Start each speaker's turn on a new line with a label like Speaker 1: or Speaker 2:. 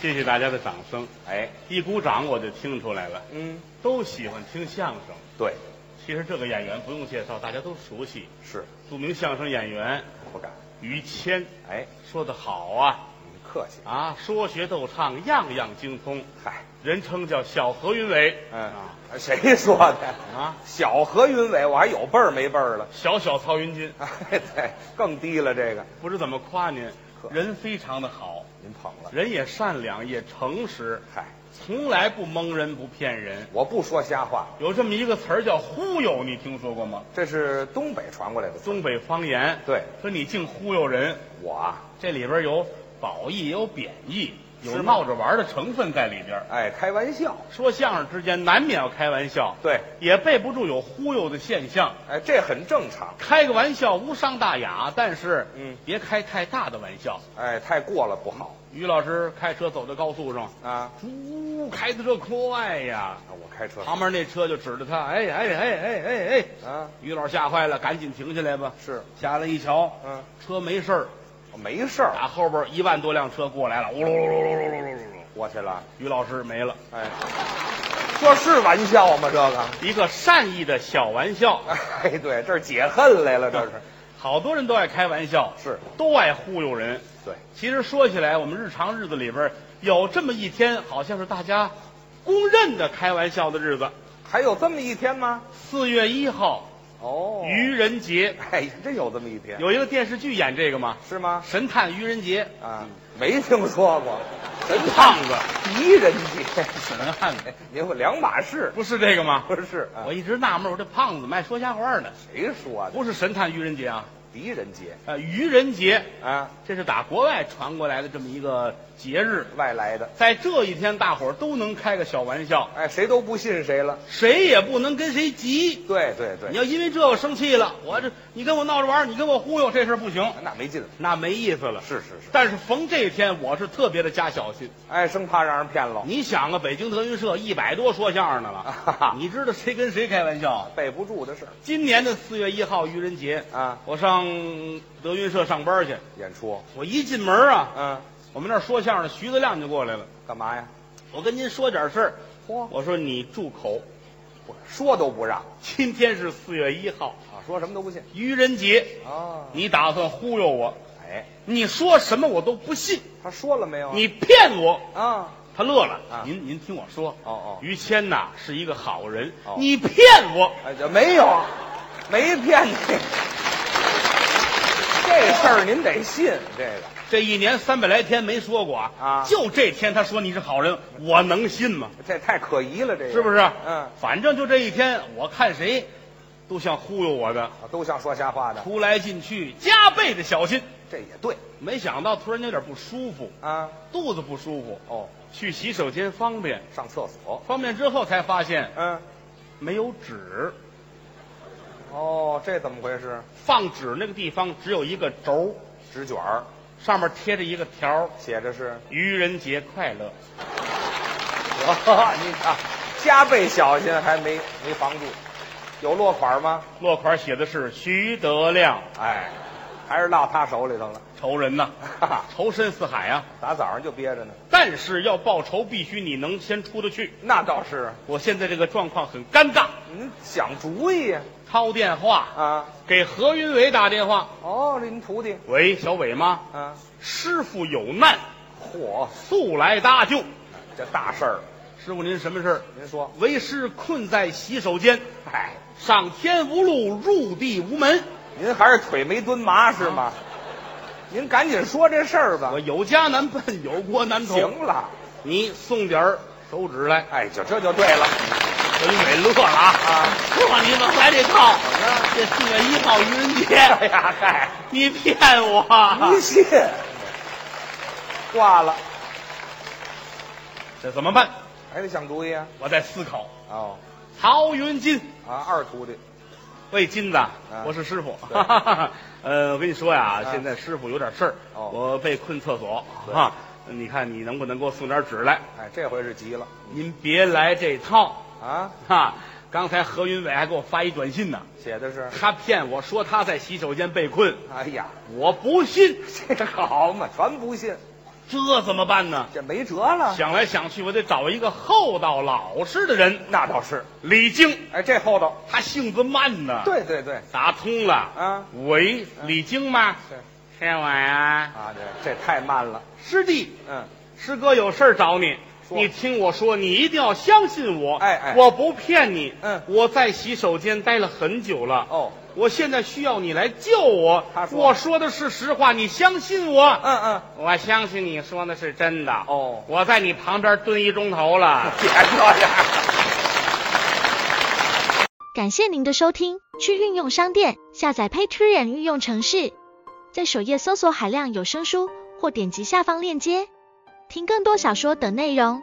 Speaker 1: 谢谢大家的掌声，
Speaker 2: 哎，
Speaker 1: 一鼓掌我就听出来了，
Speaker 2: 嗯，
Speaker 1: 都喜欢听相声。
Speaker 2: 对，
Speaker 1: 其实这个演员不用介绍，大家都熟悉，
Speaker 2: 是
Speaker 1: 著名相声演员
Speaker 2: 不敢。
Speaker 1: 于谦，
Speaker 2: 哎，
Speaker 1: 说得好啊
Speaker 2: 你客气。
Speaker 1: 啊，说学逗唱样样精通，
Speaker 2: 嗨，
Speaker 1: 人称叫小何云伟。
Speaker 2: 嗯
Speaker 1: 啊，
Speaker 2: 谁说的？
Speaker 1: 啊，
Speaker 2: 小何云伟，我还有辈儿没辈儿了？
Speaker 1: 小小曹云金，
Speaker 2: 哎，对，更低了这个。
Speaker 1: 不知怎么夸您，
Speaker 2: 呵
Speaker 1: 人非常的好，
Speaker 2: 您捧了。
Speaker 1: 人也善良也诚实，
Speaker 2: 嗨，
Speaker 1: 从来不蒙人不骗人。
Speaker 2: 我不说瞎话，
Speaker 1: 有这么一个词儿叫忽悠，你听说过吗？
Speaker 2: 这是东北传过来的词。
Speaker 1: 东北方言，
Speaker 2: 对，
Speaker 1: 说你净忽悠人，
Speaker 2: 我啊，
Speaker 1: 这里边有褒义，也有贬义，
Speaker 2: 是
Speaker 1: 有
Speaker 2: 吗
Speaker 1: 闹着玩的成分在里边。
Speaker 2: 哎，开玩笑。
Speaker 1: 说相声之间难免要开玩笑，
Speaker 2: 对，
Speaker 1: 也备不住有忽悠的现象。
Speaker 2: 哎，这很正常。
Speaker 1: 开个玩笑无伤大雅，但是
Speaker 2: 嗯
Speaker 1: 别开太大的玩笑。
Speaker 2: 哎，太过了不好
Speaker 1: 于老师开车走在高速上，
Speaker 2: 啊。
Speaker 1: 呜，开的这快呀！
Speaker 2: 啊我开车
Speaker 1: 旁边那车就指着他，哎哎哎哎哎哎！
Speaker 2: 啊，
Speaker 1: 于老师吓坏了，赶紧停下来吧。
Speaker 2: 是，
Speaker 1: 下来一瞧，
Speaker 2: 嗯，
Speaker 1: 车没事儿，
Speaker 2: 我没事儿，
Speaker 1: 打后边一万多辆车过来了，呜噜噜噜噜噜噜噜噜噜，
Speaker 2: 我去了。
Speaker 1: 于老师没了。
Speaker 2: 哎，这是玩笑吗？这个？
Speaker 1: 一个善意的小玩笑，
Speaker 2: 哎，对，这是解恨来了，这是。
Speaker 1: 好多人都爱开玩笑，
Speaker 2: 是
Speaker 1: 都爱忽悠人。
Speaker 2: 对，
Speaker 1: 其实说起来，我们日常日子里边有这么一天，好像是大家公认的开玩笑的日子。
Speaker 2: 还有这么一天吗？
Speaker 1: 四月一号，
Speaker 2: 哦
Speaker 1: 愚人节，
Speaker 2: 哎，真有这么一天，
Speaker 1: 有一个电视剧演这个嘛，
Speaker 2: 是吗？
Speaker 1: 《神探愚人节
Speaker 2: 啊，没听说过，神
Speaker 1: 胖子
Speaker 2: 狄仁 杰，》，
Speaker 1: 神汉子，
Speaker 2: 您会两码 事，
Speaker 1: 不是这个吗？
Speaker 2: 不是？啊
Speaker 1: 我一直纳闷，我这胖子卖说瞎话呢，
Speaker 2: 谁说的？
Speaker 1: 不是神探愚人节啊，
Speaker 2: 狄仁杰
Speaker 1: 呃，愚人节，
Speaker 2: 啊，
Speaker 1: 这是打国外传过来的这么一个节日。
Speaker 2: 外来的，
Speaker 1: 在这一天，大伙儿都能开个小玩笑，
Speaker 2: 哎，谁都不信谁了。
Speaker 1: 谁也不能跟谁急。
Speaker 2: 对对
Speaker 1: 你
Speaker 2: 对，
Speaker 1: 要因为这个生气了，我这你跟我闹着玩儿，你跟我忽悠，这事儿不行，
Speaker 2: 那没劲了。
Speaker 1: 那没意思了。
Speaker 2: 是是是，
Speaker 1: 但是逢这一天，我是特别的加小心。
Speaker 2: 哎，生怕让人骗了，啊
Speaker 1: 你想啊，北京德云社一百多说相声的
Speaker 2: 哈
Speaker 1: 了
Speaker 2: 哈，
Speaker 1: 你知道谁跟谁开玩笑啊？
Speaker 2: 备不住的事儿
Speaker 1: 今年的四月一号愚人节，
Speaker 2: 啊。
Speaker 1: 我上德云社上班去，
Speaker 2: 演出，
Speaker 1: 我一进门啊，
Speaker 2: 嗯，
Speaker 1: 我们那儿说相声的徐德亮就过来了，
Speaker 2: 干嘛呀？
Speaker 1: 我跟您说点事儿，
Speaker 2: 嚯，
Speaker 1: 我说你住口，
Speaker 2: 不说都不让
Speaker 1: 今天是四月一号，
Speaker 2: 啊，说什么都不信
Speaker 1: 愚人节，
Speaker 2: 啊。
Speaker 1: 你打算忽悠我？
Speaker 2: 哎，
Speaker 1: 你说什么我都不信，
Speaker 2: 他说了没有啊？
Speaker 1: 你骗我！
Speaker 2: 啊，
Speaker 1: 他乐了，
Speaker 2: 啊
Speaker 1: 您您听我说，
Speaker 2: 哦哦
Speaker 1: 于谦呐是一个好人，
Speaker 2: 哦
Speaker 1: 你骗我！
Speaker 2: 哎，这没有，没骗 你。这事儿您得信这个，
Speaker 1: 这一年三百来天没说过啊，
Speaker 2: 啊
Speaker 1: 就这天他说你是好人，我能信吗？
Speaker 2: 这太可疑了，这个
Speaker 1: 是不是？
Speaker 2: 嗯，
Speaker 1: 反正就这一天，我看谁都像忽悠我的，
Speaker 2: 啊都像说瞎话的，
Speaker 1: 出来进去加倍的小心。
Speaker 2: 这也对
Speaker 1: 没想到突然有点不舒服，
Speaker 2: 啊。
Speaker 1: 肚子不舒服，
Speaker 2: 哦，
Speaker 1: 去洗手间方便，
Speaker 2: 上厕所，
Speaker 1: 方便之后才发现
Speaker 2: 嗯，
Speaker 1: 没有纸，
Speaker 2: 哦，这怎么回事？
Speaker 1: 放纸那个地方只有一个轴，
Speaker 2: 纸卷儿
Speaker 1: 上面贴着一个条儿
Speaker 2: 写着是，
Speaker 1: 愚人节快乐。
Speaker 2: 哦、你看加倍小心，还没没防住，有落款吗？
Speaker 1: 落款写的是徐德亮，
Speaker 2: 哎，还是落他手里头了，
Speaker 1: 仇人呐、
Speaker 2: 哈哈，
Speaker 1: 仇深似海啊！
Speaker 2: 打早上就憋着呢。
Speaker 1: 但是要报仇，必须你能先出得去。
Speaker 2: 那倒是，
Speaker 1: 我现在这个状况很尴尬，
Speaker 2: 您想主意呀
Speaker 1: 掏电话
Speaker 2: 啊。
Speaker 1: 给何云伟打电话，
Speaker 2: 哦，这您徒弟，
Speaker 1: 喂，小伟吗？
Speaker 2: 啊，
Speaker 1: 师傅有难，
Speaker 2: 嚯，
Speaker 1: 速来搭救。
Speaker 2: 这大事儿，
Speaker 1: 师傅您什么事儿？
Speaker 2: 您说，
Speaker 1: 为师困在洗手间，
Speaker 2: 哎，
Speaker 1: 上天无路，入地无门。
Speaker 2: 您还是腿没蹲麻是吗？您赶紧说这事儿吧
Speaker 1: 我。有家难奔， 有国难投。
Speaker 2: 行了，
Speaker 1: 你送点儿手指来。
Speaker 2: 哎，就这就对了
Speaker 1: 何云伟乐了哎啊！
Speaker 2: 啊。
Speaker 1: 呵，你们来这套，
Speaker 2: 啊
Speaker 1: 这四月一号愚人
Speaker 2: 哎
Speaker 1: 节，
Speaker 2: 呀，嗨，
Speaker 1: 你骗我啊
Speaker 2: 不！信，挂了，
Speaker 1: 这怎么办？
Speaker 2: 还得想主意啊。
Speaker 1: 我在思考。
Speaker 2: 哦，
Speaker 1: 曹云金，
Speaker 2: 啊，二徒弟，
Speaker 1: 喂，金子，我是师傅
Speaker 2: 对。
Speaker 1: 呃，我跟你说呀，
Speaker 2: 啊
Speaker 1: 现在师傅有点事儿，
Speaker 2: 哦
Speaker 1: 我被困厕所
Speaker 2: 对
Speaker 1: 啊。你看你能不能给我送点纸来？
Speaker 2: 哎，这回是急了
Speaker 1: 您别来这套
Speaker 2: 啊。
Speaker 1: 哈！刚才何云伟还给我发一短信呢，
Speaker 2: 写的是，
Speaker 1: 他骗我说他在洗手间被困，
Speaker 2: 哎呀，
Speaker 1: 我不信。
Speaker 2: 这好嘛，全不信。
Speaker 1: 这怎么办呢？
Speaker 2: 这没辙了。
Speaker 1: 想来想去，我得找一个厚道老实的人。
Speaker 2: 那倒是，
Speaker 1: 李菁，
Speaker 2: 哎，这厚道。
Speaker 1: 他性子慢呢。，
Speaker 2: 对对对，
Speaker 1: 打通了。
Speaker 2: 啊
Speaker 1: 喂，李菁吗？
Speaker 2: 是
Speaker 1: 是我呀，
Speaker 2: 啊，这这太慢了。
Speaker 1: 师弟，
Speaker 2: 嗯，
Speaker 1: 师哥有事儿找你。
Speaker 2: 说
Speaker 1: 你听我说，你一定要相信我。
Speaker 2: 哎哎
Speaker 1: 我不骗你。
Speaker 2: 嗯
Speaker 1: 我在洗手间待了很久了。
Speaker 2: 哦，
Speaker 1: 我现在需要你来救我。
Speaker 2: 他说
Speaker 1: 我说的是实话，你相信我。
Speaker 2: 嗯嗯，
Speaker 1: 我相信你说的是真的。
Speaker 2: 哦
Speaker 1: 我在你旁边蹲一钟头了。
Speaker 2: 别这样。
Speaker 3: 感谢您的收听，去运用商店下载 Patreon 运用城市，在首页搜索海量有声书，或点击下方链接听更多小说等内容。